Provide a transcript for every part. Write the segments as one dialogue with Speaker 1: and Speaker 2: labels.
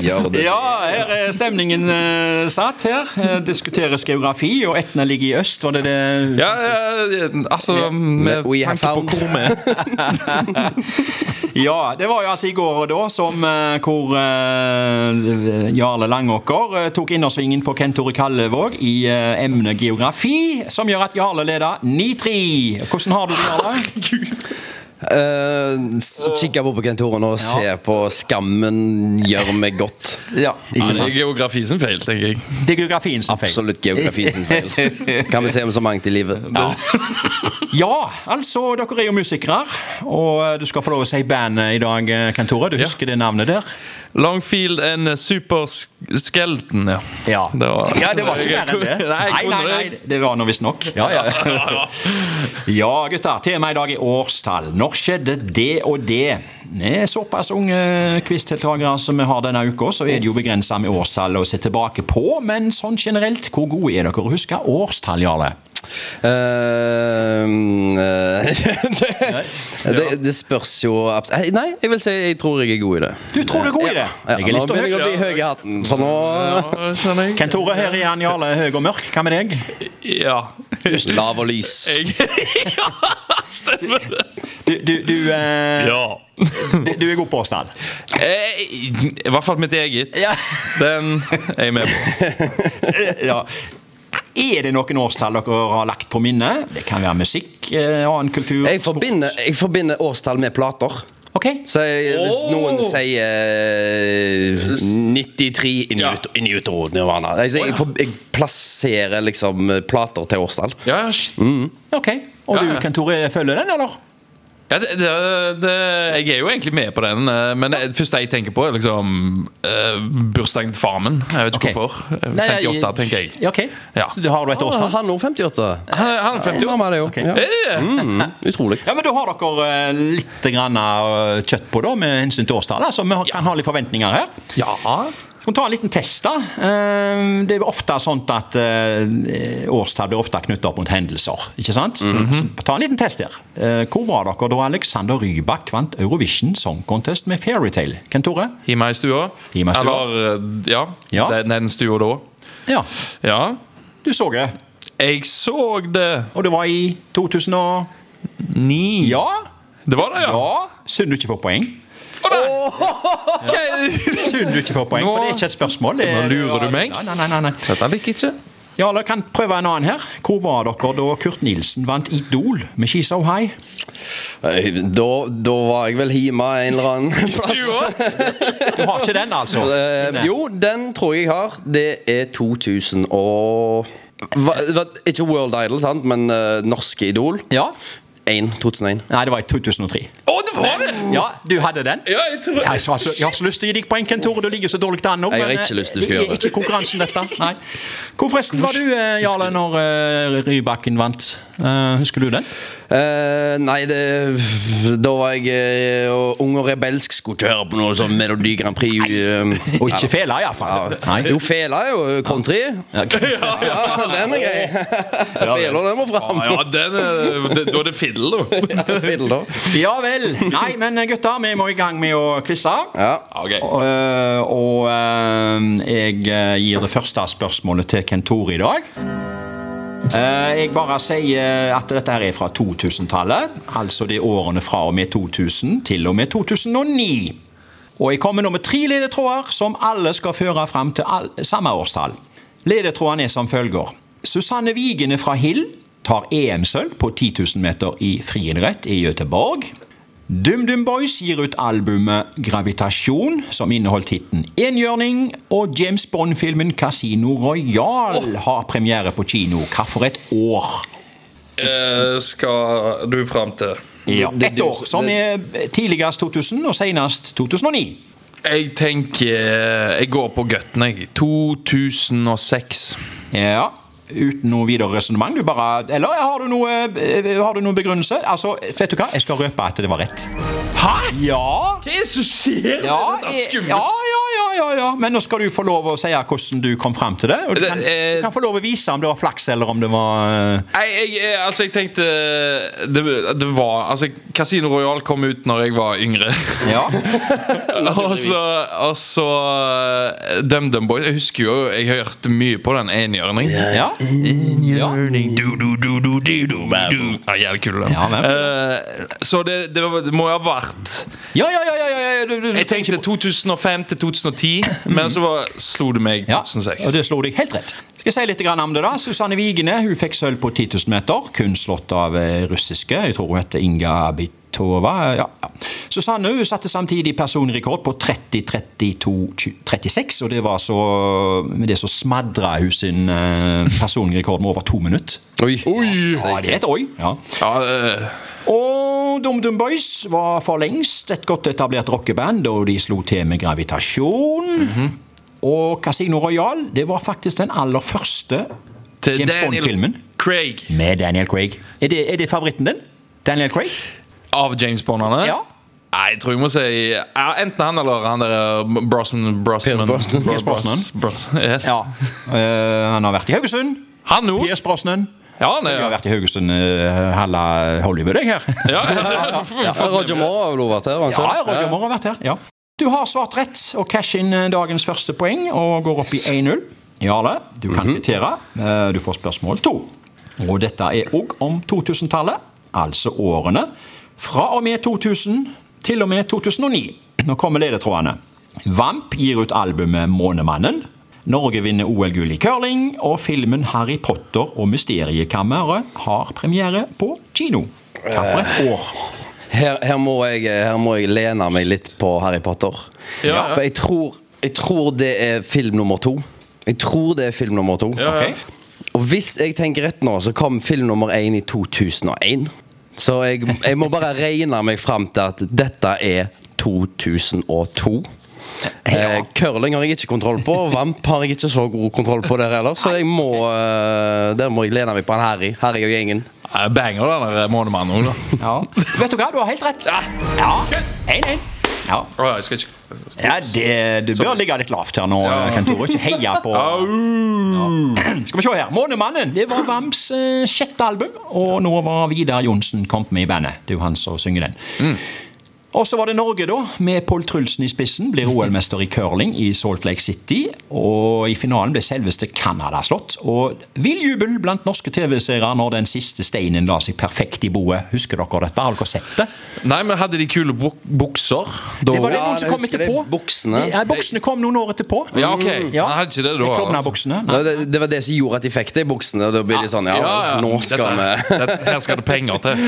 Speaker 1: Gjør det.
Speaker 2: Ja, her er stemningen eh, satt her. Eh, diskuteres geografi, og Etna ligger i øst, var det det?
Speaker 3: Ja, eh, altså Med
Speaker 1: We have
Speaker 3: tanke på hvor
Speaker 1: found.
Speaker 3: vi er.
Speaker 2: Ja, det var jo altså i går da som eh, hvor eh, Jarle Langåker eh, tok innersvingen på Kent Tore Kallevåg i eh, emnet geografi, som gjør at Jarle leder 9-3. Hvordan har du det, Jarle?
Speaker 1: Eh, s- kikker bort på kontoret nå og ser på Skammen gjør meg godt.
Speaker 2: Ja,
Speaker 3: Men
Speaker 2: ikke
Speaker 3: det er
Speaker 2: sant?
Speaker 3: geografi som feil, tenker jeg.
Speaker 2: Det er geografien som feil.
Speaker 1: Absolutt geografien sin feil. Kan vi se om så mangt i livet.
Speaker 2: Ja, altså, dere er jo musikere, og eh, du skal få lov å si bandet i dag, eh, Kent Tore. Du
Speaker 3: Ja.
Speaker 2: husker det navnet der?
Speaker 3: Longfield and Superskelton, ja.
Speaker 2: Ja.
Speaker 3: Det var,
Speaker 2: Ja, det var ikke mer enn det.
Speaker 3: Nei,
Speaker 2: Nei, nei, nei, det var nå visstnok. Ja, ja. ja, gutter. Temaet i dag er årstall. Når skjedde det og det? Vi er såpass unge quizdeltakere som vi har denne uka, så er det jo begrensa med årstall å se tilbake på. Men sånn generelt, hvor gode er dere å huske årstall, Jarle?
Speaker 1: Eh, eh, det, det, det spørs jo abs- Eh, Nei, jeg vil si jeg tror jeg er god i det.
Speaker 2: Du tror du er god i det?
Speaker 1: Ja,
Speaker 2: Jeg er litt
Speaker 1: nå
Speaker 2: så
Speaker 1: begynner jeg å
Speaker 2: høy.
Speaker 1: bli høy i hatten, så nå
Speaker 3: Ja, skjønner jeg.
Speaker 2: Kent Tore, her er han Jarle høy og mørk. Hva med deg?
Speaker 3: Ja.
Speaker 1: Lav og lys.
Speaker 3: Jeg, ja, stemmer det.
Speaker 2: Du, du, du, eh,
Speaker 3: Ja.
Speaker 2: du, du er god på årstall.
Speaker 3: Eh, I hvert fall mitt eget.
Speaker 2: Ja.
Speaker 3: Den er jeg med på.
Speaker 2: ja. Er det noen årstall dere har lagt på minnet? Det kan være musikk, eh, annen kultur
Speaker 1: Jeg
Speaker 2: sport.
Speaker 1: forbinder, jeg forbinder årstall med plater.
Speaker 2: Ok.
Speaker 1: Så jeg, hvis
Speaker 3: Åh!
Speaker 1: noen sier eh, 93 inni
Speaker 3: Ja.
Speaker 1: ut- inni utro Nirvana jeg, jeg, for, jeg plasserer liksom eh, plater til årstall.
Speaker 3: Ja, ja, shit.
Speaker 2: Ok. Og
Speaker 3: Ja,
Speaker 2: du,
Speaker 3: ja.
Speaker 2: Kent Tore, følger den, eller?
Speaker 3: Ja, det, det, det, jeg er jo egentlig med på den, eh, men det første jeg tenker på, er liksom eh, bursdagen til faren min. Jeg vet ikke
Speaker 2: Ok.
Speaker 3: hvorfor. Eh,
Speaker 2: Nei,
Speaker 3: 58, tenker jeg.
Speaker 2: Ja, ok.
Speaker 3: Ja.
Speaker 2: Så du har du et
Speaker 3: Ah.
Speaker 2: årstall?
Speaker 1: Han òg 58.
Speaker 3: Han han er 50 år.
Speaker 1: Mamma er det jo. Ja.
Speaker 3: Er det det?
Speaker 1: Mm, utrolig.
Speaker 2: Ja, men Da har dere eh, litt grann, eh, kjøtt på da, med hensyn til årstall. da, Så vi har- kan ha litt forventninger her.
Speaker 3: Ja.
Speaker 2: Vi kan ta en liten test. da. Eh, Det er ofte sånn at eh, årstall blir ofte knyttet opp mot hendelser. ikke sant?
Speaker 3: Mhm.
Speaker 2: Så Ta en liten test her. Eh, Hvor var dere da Alexander Rybak vant Eurovision Song Contest med Fairytale? Kent Tore?
Speaker 3: Hjemme i stua?
Speaker 2: Hjemme i stua.
Speaker 3: Eller eh, ja,
Speaker 2: Ja.
Speaker 3: Den, den stua da.
Speaker 2: Ja,
Speaker 3: Ja.
Speaker 2: du så det.
Speaker 3: Jeg så det.
Speaker 2: Og det var i 2009. Ja,
Speaker 3: Det var det, ja.
Speaker 2: ja. Synd du ikke får poeng.
Speaker 3: Å, nei. Hva-
Speaker 2: Synd du ikke får poeng, for det er ikke et spørsmål. Det er-
Speaker 3: Nå lurer du meg.
Speaker 2: Nei, nei, nei, nei.
Speaker 3: Dette liker jeg ikke.
Speaker 2: Ja, dere kan prøve en annen her. Hvor var dere da Kurt Nilsen vant Idol med She's So High?
Speaker 1: Eh, Da, da var jeg vel hjemme en eller annen plass.
Speaker 3: Stua?
Speaker 2: Du har ikke den, altså?
Speaker 1: Eh, jo, den tror jeg jeg har. Det er 2000 og hva, hva, Ikke World Idol, sant, men eh, norske Idol.
Speaker 2: Ja.
Speaker 1: 1, 2001.
Speaker 2: Nei, det var i 2003.
Speaker 3: Å, det var det!
Speaker 2: Ja, du hadde den?
Speaker 3: Ja, jeg tror
Speaker 2: Jeg, så, altså, jeg har så lyst til å gi deg poeng, Kent Tore. Du ligger så dårlig an nå.
Speaker 1: Jeg har
Speaker 2: men, eh,
Speaker 1: ikke lyst til å skulle
Speaker 2: det er
Speaker 1: gjøre det.
Speaker 2: Ikke konkurransen dette, nei. Hvor forresten var du, eh, Jarle, når eh, Rybakken vant? Eh, Husker du den?
Speaker 1: Eh, nei, det, da var jeg eh, og ung og rebelsk skulle ikke høre på noe sånn Melodi Grand Prix. eh,
Speaker 2: Og ikke fela, iallfall.
Speaker 1: ja. Jo, fela er jo eh, country. Ja, den er grei. Fela, den må fram.
Speaker 3: Ja, ja, den er, det, da er det fiddel, da.
Speaker 1: Fiddle, da.
Speaker 2: Ja vel. Nei, men eh, gutta, vi må i gang med å quize.
Speaker 1: Ja.
Speaker 3: Ok.
Speaker 2: Og, øh, og øh, jeg øh, gir det første spørsmålet til Kent Tore i dag. Eh, Jeg bare sier at dette her er fra 2000-tallet. Altså de årene fra og med 2000 til og med 2009. Og jeg kommer nå med tre ledetråder som alle skal føre fram til all, samme årstall. Ledetrådene er som følger. Susanne Vigene fra Hill tar EM-sølv på 10 000 meter i friidrett i Göteborg. DumDum Boys gir ut albumet Gravitasjon, som inneholdt hiten Enhjørning. Og James Bond-filmen Casino Royal har premiere på kino. Hva for et år?
Speaker 3: Eh, skal du fram til
Speaker 2: Ja,
Speaker 1: det-
Speaker 2: Ett år, som er tidligst 2000 og senest 2009.
Speaker 3: Jeg tenker eh, Jeg går på gutten, jeg. 2006.
Speaker 2: Ja, uten noe videre resonnement. Du bare Eller har du noe, eh, har du noen begrunnelse? Altså, vet du hva? Jeg skal røpe at det var rett.
Speaker 3: Hæ?!
Speaker 2: Ja.
Speaker 3: Hva er det som skjer?
Speaker 2: Ja,
Speaker 3: er
Speaker 2: ja, ja, ja, ja, ja, men nå skal du få lov å si hvordan du kom fram til det. Og du
Speaker 3: Det-
Speaker 2: kan,
Speaker 3: eh,
Speaker 2: du kan få lov å vise om det var flaks, eller om det var eh,
Speaker 3: Nei, jeg, eh, altså, jeg tenkte det, det var Altså, Casino Royal kom ut når jeg var yngre.
Speaker 2: Ja.
Speaker 3: og så, og så eh, DumDum Boys. Jeg husker jo jeg hørte mye på den enhjørning.
Speaker 2: ja. ja.
Speaker 3: Ja, jævlig kul, den.
Speaker 2: Ja, men.
Speaker 3: Eh, så det, det, var, det må jo ha vært
Speaker 2: Ja, ja, ja, ja, ja, ja. Du, du,
Speaker 3: Jeg tenkte 2005 til 2010, men så var- slo det meg
Speaker 2: ja,
Speaker 3: 2006.
Speaker 2: og det slo deg helt rett. Skal jeg si litt grann om det da? Susanne Vigene hun fikk sølv på 10 000 meter, kun slått av eh, russiske. Jeg tror hun heter Inga Abitova. Ja, ja. Susanne hun satte samtidig personrekord på 30-32-36, og det var så Med det så smadra hun sin eh, personrekord med over to minutter.
Speaker 1: Oi.
Speaker 2: Ja, det er et oi. Ja.
Speaker 3: Ja, eh,
Speaker 2: Og DumDum Boys var for lengst et godt etablert rockeband, og de slo til med gravitasjon.
Speaker 3: Mhm.
Speaker 2: Og Casino Royal det var faktisk den aller første
Speaker 3: til
Speaker 2: James
Speaker 3: Daniel
Speaker 2: Bond-filmen
Speaker 3: Craig
Speaker 2: med Daniel Craig. Er det, er det favoritten din? Daniel Craig?
Speaker 3: av James Bondene.
Speaker 2: Ja.
Speaker 3: Nei, jeg tror jeg må si ja, Enten han eller han der eh, Brosnan Brosnan
Speaker 1: Brosnan.
Speaker 3: Bros-
Speaker 2: Pierce Brosnan.
Speaker 3: Bros- yes.
Speaker 2: Ja. Eh, han har vært i Haugesund.
Speaker 3: Han nå?
Speaker 2: Pierce Brosnan.
Speaker 3: Ja, han
Speaker 2: Jeg har
Speaker 3: er
Speaker 2: vært i Haugesund uh, halve Hollywood, jeg her.
Speaker 3: ja,
Speaker 1: Roger Moore har vel vært her? han
Speaker 2: Ja,
Speaker 1: selv?
Speaker 2: Roger Moore har vært her. Eh, Ja. Du har svart rett og cash inn eh, dagens første poeng og går opp i 1-0. Jarle, du kan kvittere. Eh, Du får spørsmål to. Og dette er òg om 2000-tallet, altså årene fra og med 2000 til og med 2009. Nå kommer ledetrådene. Vamp gir ut albumet Månemannen. Norge vinner OL-gull i curling, og filmen Harry Potter og Mysteriekammeret har premiere på kino. Hvilket år?
Speaker 1: Her, her, må jeg, eh, her må jeg lene meg litt på Harry Potter.
Speaker 3: Ja, ja.
Speaker 1: For jeg tror, jeg tror det er film nummer to. Jeg tror det er film nummer to.
Speaker 3: Ja, ja.
Speaker 2: Ok.
Speaker 1: Og hvis jeg tenker rett nå, så kom film nummer én i 2001. Så jeg, jeg må bare regne meg fram til at dette er 2002. Eh, curling har jeg ikke kontroll på. Vamp har jeg ikke så god kontroll på der heller. Så jeg må, eh, der må jeg lene meg på en Harry. Harry og gjengen.
Speaker 3: Ja, Banger, den der månemannen òg, da.
Speaker 2: Ja. Vet du hva, du har helt rett. Ja. 1-1. Ja.
Speaker 3: Å, jeg skal ikke
Speaker 2: Ja, det, du bør ligge litt lavt her nå, eh, Kent Tore. Ikke heie på Skal vi se her. 'Månemannen' det var Vams eh, sjette album. Og nå var Vidar Johnsen kommet med i bandet. Det er jo han som synger den. Og så var det Norge, da. Med Pål Trulsen i spissen blir OL-mester i curling i Salt Lake City. Og i finalen ble selveste Canada slått. Og vill jubel blant norske TV-seere når den siste steinen la seg perfekt i boet. Husker dere dette? Har dere sett det?
Speaker 3: Nei, men hadde de kule buk bukser? Da
Speaker 2: Det var det
Speaker 1: Ja,
Speaker 2: noen
Speaker 1: jeg
Speaker 2: som kom
Speaker 1: husker det,
Speaker 2: etterpå.
Speaker 1: buksene.
Speaker 2: Ja, buksene kom noen år etterpå. Mm.
Speaker 3: Ja, ok. Han hadde ikke det da, altså.
Speaker 2: buksene.
Speaker 1: Det, det, det var det som gjorde at de fikk det i buksene. Og da blir de sånn, ja, nå skal vi
Speaker 3: dette, dette, Her skal det penger til.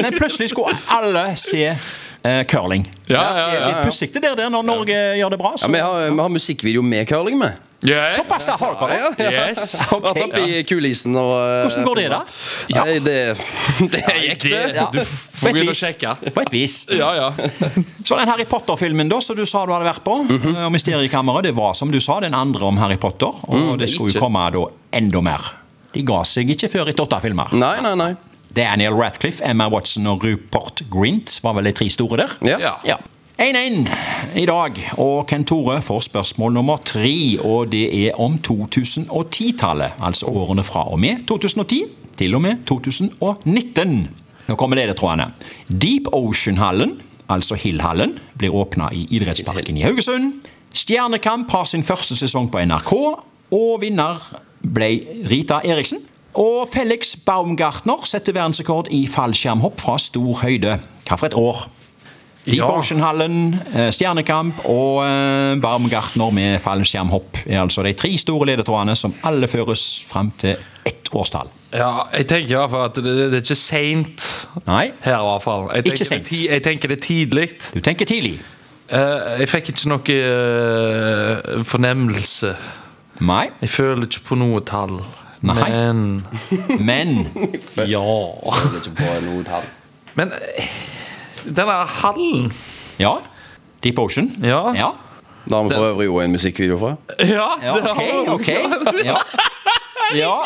Speaker 2: Men plutselig skulle alle se eh, curling.
Speaker 3: Ja, ja, ja,
Speaker 2: Det er
Speaker 3: ja.
Speaker 2: pussig det der, der når Norge gjør det bra.
Speaker 1: ja,
Speaker 2: Så,
Speaker 1: vi, har, vi har musikkvideo med curling med.
Speaker 3: Yes.
Speaker 2: såpass har dere det.
Speaker 3: yes.
Speaker 2: Ok.
Speaker 1: Tatt opp i kulisen og eh,
Speaker 2: Hvordan går det, da?
Speaker 1: Nei, det, det gikk det.
Speaker 3: Det-
Speaker 2: Ja.
Speaker 3: Du
Speaker 2: På
Speaker 3: får
Speaker 2: et
Speaker 3: gå inn og
Speaker 2: vis.
Speaker 3: sjekke.
Speaker 2: På et vis.
Speaker 3: Ja, ja.
Speaker 2: Så den Harry Potter-filmen da, som du sa du hadde vært på,
Speaker 3: Mhm.
Speaker 2: eh, og Mysteriekammeret, det var som du sa, den andre om Harry Potter. Og det skulle
Speaker 3: Mm.
Speaker 2: jo
Speaker 3: ikke.
Speaker 2: komme da enda mer. De ga seg ikke før etter åtte filmer.
Speaker 1: Nei, nei, nei.
Speaker 2: Daniel Radcliffe, Emma Watson og Rupert Grint var vel de tre store der.
Speaker 1: Ja.
Speaker 3: Ja.
Speaker 2: Ja. 1-1 i dag, og Kent Tore får spørsmål nummer tre. Og det er om 2010-tallet. Altså årene fra og med 2010 til og med 2019. Nå kommer ledetrådene. Deep Ocean-hallen, altså Hill-hallen, blir åpna i idrettsparken i Haugesund. Stjernekamp har sin første sesong på NRK, og vinner ble Rita Eriksen. Og Felix Baumgartner setter verdensrekord i fallskjermhopp fra stor høyde. Hva for et år? Deep
Speaker 3: Ja.
Speaker 2: Ocean-hallen, eh, Stjernekamp og eh, Baumgartner med fallskjermhopp er altså de tre store ledetrådene som alle føres fram til ett årstall.
Speaker 3: ja jeg tenker i hvert fall at det, det er ikke seint
Speaker 2: Nei,
Speaker 3: her, i hvert fall. Jeg
Speaker 2: Ikke
Speaker 3: tenker det
Speaker 2: sent.
Speaker 3: ti- Jeg tenker det er tidlig.
Speaker 2: du tenker tidlig.
Speaker 3: Eh, jeg fikk ikke noe eh, fornemmelse.
Speaker 2: Nei,
Speaker 3: Jeg føler ikke på noe tall.
Speaker 2: Nei.
Speaker 3: Men
Speaker 2: men
Speaker 3: Ja. Men eh, denne hallen
Speaker 2: Ja. Deep Ocean.
Speaker 3: Ja.
Speaker 2: ja.
Speaker 1: Da har vi for øvrig jo en musikkvideo fra.
Speaker 3: Ja,
Speaker 2: Ja,
Speaker 3: det
Speaker 2: ok,
Speaker 3: har-
Speaker 2: ok. Ja. ja.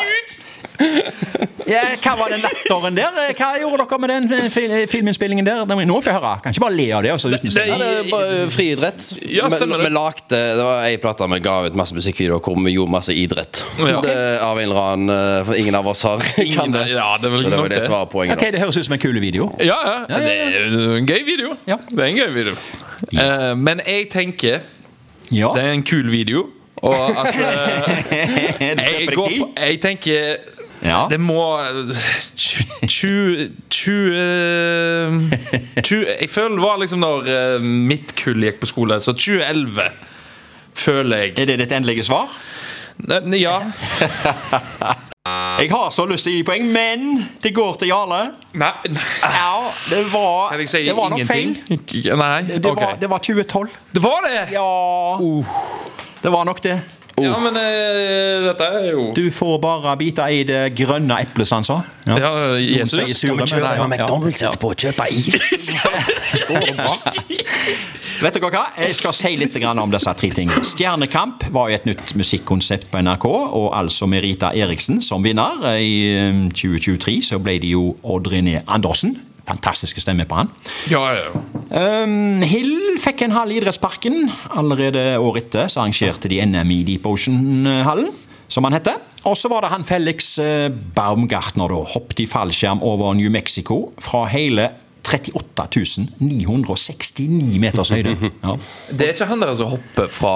Speaker 2: Ja, hva var den latteren der? Hva gjorde dere med den eh, fil- filminnspillingen der? Den må jeg nå få høre. Kan ikke bare le av det. Altså, uten å si
Speaker 3: det-
Speaker 1: Ja, det er bare friidrett.
Speaker 3: Ja,
Speaker 1: Men-
Speaker 3: stemmer det.
Speaker 1: Vi lagde Det var ei plate vi ga ut masse musikkvideoer hvor vi gjorde masse idrett.
Speaker 3: Ja.
Speaker 1: Det, av en eller annen eh, For ingen av oss har kan det.
Speaker 3: ja, det er vel
Speaker 1: Så det
Speaker 3: nok
Speaker 1: var det
Speaker 3: det.
Speaker 1: som var poenget. da.
Speaker 2: Ok, Det høres ut som en kul video.
Speaker 3: Ja, ja. Det er jo en gøy video.
Speaker 2: Ja.
Speaker 3: Det er en gøy video. Eh, men jeg tenker
Speaker 2: Ja,
Speaker 3: det er en kul video, og at eh, jeg, går for, jeg tenker
Speaker 2: Ja.
Speaker 3: Det må 20 eh, Jeg føler det var liksom når eh, mitt kull gikk på skole, så 2011 føler jeg.
Speaker 2: Er det ditt endelige svar?
Speaker 3: Ne- Ja.
Speaker 2: Jeg har så lyst til å gi poeng, men det går til Jarle.
Speaker 3: Nei, nei.
Speaker 2: Ja, det var,
Speaker 3: Kan jeg si
Speaker 2: det var nok
Speaker 3: ingenting?
Speaker 2: feil.
Speaker 3: Ikke- Nei.
Speaker 2: Det, det,
Speaker 3: ok.
Speaker 2: var, det var 2012.
Speaker 3: det var det!
Speaker 2: Ja Det var nok det.
Speaker 3: Ja, men eh, dette er jo
Speaker 2: Du får bare bite i det grønne eplet, som han sa.
Speaker 3: Ja, Jesus.
Speaker 2: Noen sier sure,
Speaker 3: Skal vi kjøre
Speaker 2: men-
Speaker 3: gjennom
Speaker 2: ja. Ja.
Speaker 1: etterpå og kjøpe is.
Speaker 2: Vet dere hva? Jeg skal si litt grann om disse tre tingene. Stjernekamp var jo et nytt musikkonsept på NRK, og altså med Rita Eriksen som vinner. I eh, 2023 så ble det jo Odd René Andersen. Fantastiske stemmer på han.
Speaker 3: Ja, ja, ja.
Speaker 2: Um, Hill fikk en hall i Idrettsparken. Allerede året etter så arrangerte de NM i Deep Ocean-hallen, som han heter. Og så var det han Felix eh, Baumgartner, da. Hoppet i fallskjerm over New Mexico fra hele 38 969 meters høyde. Ja.
Speaker 3: Det er ikke han der som hopper fra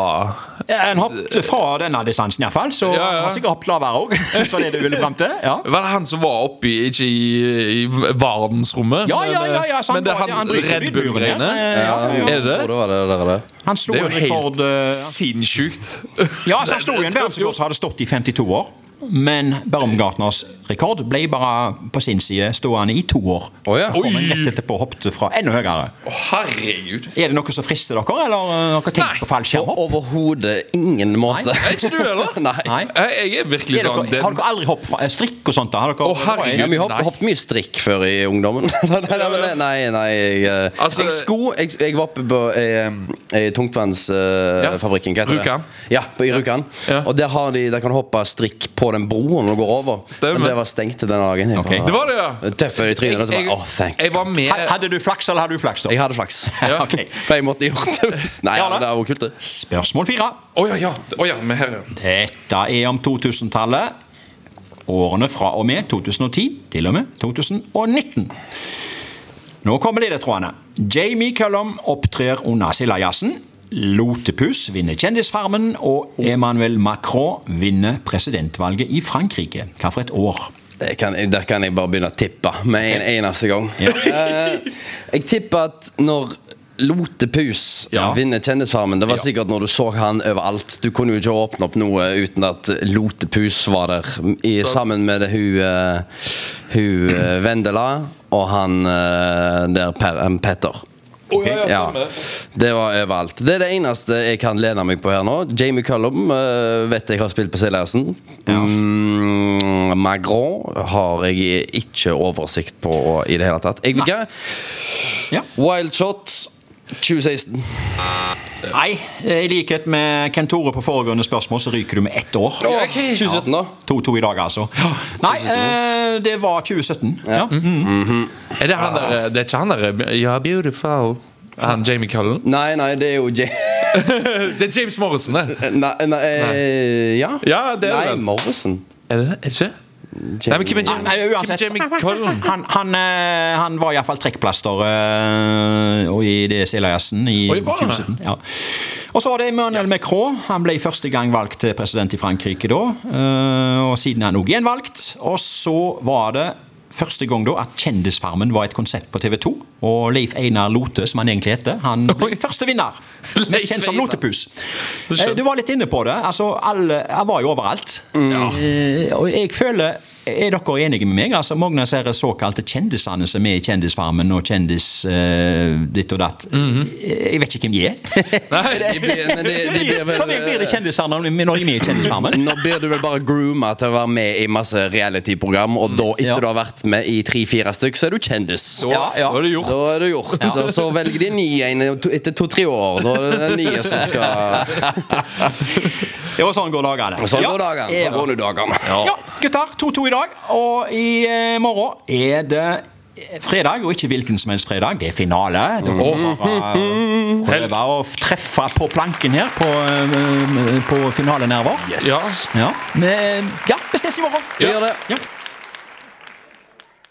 Speaker 2: En hoppet fra denne distansen, iallfall. Så
Speaker 3: Ja, ja.
Speaker 2: han har sikkert hoppet lavere òg. Så det er det du ville fram til. Ja.
Speaker 3: Var det han som var oppe i Ikke i, i verdensrommet?
Speaker 2: Ja, ja, ja, ja, sant.
Speaker 3: men det er han,
Speaker 2: Ja, han bryter
Speaker 3: Red Bull-greiene?
Speaker 2: lydmuren, ja. Ja, ja, ja.
Speaker 3: Er det
Speaker 1: Jeg
Speaker 3: det?
Speaker 1: tror det var det der, det.
Speaker 2: Han slo
Speaker 3: Det er
Speaker 2: en
Speaker 3: jo helt
Speaker 2: rekord eh,
Speaker 3: sinnssykt.
Speaker 2: Ja, så han sto i en verdensrekord som hadde stått i 52 år. Men Baumgartners rekord ble bare på sin side stående i to år.
Speaker 1: Å ja.
Speaker 2: Kom han rett etterpå og hoppet fra enda høyere.
Speaker 3: Å, herregud.
Speaker 2: Er det noe som frister dere, eller eh, dere
Speaker 3: Nei.
Speaker 2: tenker på
Speaker 1: På
Speaker 2: fallskjermhopp?
Speaker 1: overhodet ingen måte.
Speaker 3: Er ikke du heller?
Speaker 1: Nei.
Speaker 2: Nei.
Speaker 3: Jeg, jeg er virkelig
Speaker 2: Er dere,
Speaker 3: sånn det,
Speaker 2: har dere aldri hoppet fra eh, strikk og sånt? da? Har dere,
Speaker 3: Å, herregud.
Speaker 1: Ja, vi hopp,
Speaker 3: Nei.
Speaker 1: hoppet mye strikk før i ungdommen. nei, nei, nei, nei, nei, nei jeg, eh,
Speaker 3: Altså-
Speaker 1: jeg sko Jeg, jeg var oppe på eh, i
Speaker 3: Ja.
Speaker 1: tungtvannsfabrikken.
Speaker 3: Rjukan.
Speaker 1: Ja, på, i Rjukan.
Speaker 3: Ja.
Speaker 1: Og der, har de, der kan du hoppe strikk på den broen og gå over.
Speaker 3: Stemmer.
Speaker 1: Men det var stengt den dagen. Jeg
Speaker 2: Ok.
Speaker 1: var-
Speaker 3: det var det, ja.
Speaker 1: Tøffere i trynet. og så
Speaker 3: Jeg,
Speaker 1: bare, Åh, thank
Speaker 3: jeg var med
Speaker 2: Ha- Hadde du flaks, eller hadde du flaks? da?
Speaker 1: Jeg hadde flaks.
Speaker 3: Ja.
Speaker 2: Ok.
Speaker 1: For jeg måtte gjort det. hvis- Nei,
Speaker 2: Ja, da.
Speaker 1: men det var kult, det.
Speaker 2: Spørsmål fire.
Speaker 3: Å ja, ja. Å, ja, vi er her, ja.
Speaker 2: Dette er om 2000-tallet. Årene fra og med 2010 til og med 2019. Nå kommer ledetrådene. Jamie Cullum opptrer under Sildajazzen. Lotepus vinner Kjendisfarmen, og Emmanuel Macron vinner presidentvalget i Frankrike. Hva for et år?
Speaker 1: Det kan, der kan jeg bare begynne å tippe med en eneste gang. Eh, jeg tipper at når Lotepus
Speaker 3: Ja.
Speaker 1: vinner Kjendisfarmen. Det var
Speaker 3: Ja.
Speaker 1: sikkert når du så han overalt. Du kunne jo ikke åpne opp noe uten at Lotepus var der. I, sammen med det, hun, eh, hun eh, Vendela og han eh, der per, eh, Petter.
Speaker 3: Å, ja, ja,
Speaker 1: Ja,
Speaker 3: stemmer.
Speaker 1: det var overalt. Det er det eneste jeg kan lene meg på her nå. Jamie Cullum eh, vet jeg har spilt på Seilersen. Mm, Magron har jeg ikke oversikt på i det hele tatt. Jeg vil ikke
Speaker 2: Ja.
Speaker 1: Wild Shot 2016.
Speaker 2: Nei, i likhet med Kent Tore på foregående spørsmål, så ryker du med ett år.
Speaker 1: Å, 2017, da.
Speaker 2: 2-2 i dag, altså. Nei, eh, det var 2017. Ja.
Speaker 3: Er det han der eh, Det er ikke han der Ja, beautiful. Han Jamie Cullen?
Speaker 1: Nei, nei, det er jo J...
Speaker 3: Det er James Morrison, det.
Speaker 1: Nei, nei, eh, ja.
Speaker 3: Ja, det er
Speaker 1: nei,
Speaker 3: det.
Speaker 1: Morrison.
Speaker 3: Er det det? Er det ikke? Nei, men hvem er Jamie,
Speaker 2: Nei,
Speaker 3: hvem
Speaker 2: uansett.
Speaker 3: er Jamie Cullen?
Speaker 2: Han, han, eh, han var iallfall trekkplaster eh, og i det Selajassen i
Speaker 3: Oi, var han det?
Speaker 2: 2017. Ja. Og så var det Emmanuel Macron. Han ble første gang valgt til president i Frankrike da. eh, og siden han òg gjenvalgt. Og så var det første gang da at Kjendisfarmen var et konsept på TV 2. Og Leif Einar Lote, som han egentlig heter, han ble første vinner.
Speaker 3: Leif
Speaker 2: Mest kjent som
Speaker 3: Einar.
Speaker 2: Lotepus.
Speaker 3: skjønner.
Speaker 2: Eh, Du var litt inne på det. Altså, alle, han var jo overalt.
Speaker 1: Mm.
Speaker 2: Eh, og jeg føler Er dere enige med meg? Altså, Mange av disse her såkalte kjendisene som er i Kjendisfarmen og kjendis eh, ditt og datt Eh, Jeg vet ikke hvem de er.
Speaker 3: Nei,
Speaker 1: De blir, Mhm. men de, de blir
Speaker 2: For meg blir
Speaker 1: vel
Speaker 2: det kjendiser når de når de er med i Kjendisfarmen.
Speaker 1: Nå blir du vel bare grooma til å være med i masse reality-program, og
Speaker 3: Mm,
Speaker 1: da, etter
Speaker 2: Ja.
Speaker 1: du har vært med i tre-fire stykk, så er du kjendis.
Speaker 3: Da,
Speaker 2: Ja, ja.
Speaker 3: da er det gjort.
Speaker 1: Da er det gjort. Så, så velger de en ny en to- etter to-tre år. Da er det den nye som skal
Speaker 2: Ja, og sånn går dagene.
Speaker 1: Sånn
Speaker 2: Ja.
Speaker 1: går dagene.
Speaker 2: Ja.
Speaker 1: Sånn går nå dagene.
Speaker 2: Ja, gutter. 2-2 i dag. dag. Og i eh, morgen er det fredag, og ikke hvilken som helst fredag. Det er finale. Det må bare prøve å treffe på planken her på, eh, på finalenerver.
Speaker 3: Ja.
Speaker 2: Ja. Men, ja, vi ses i morgen.
Speaker 1: Vi gjør det.
Speaker 2: Ja.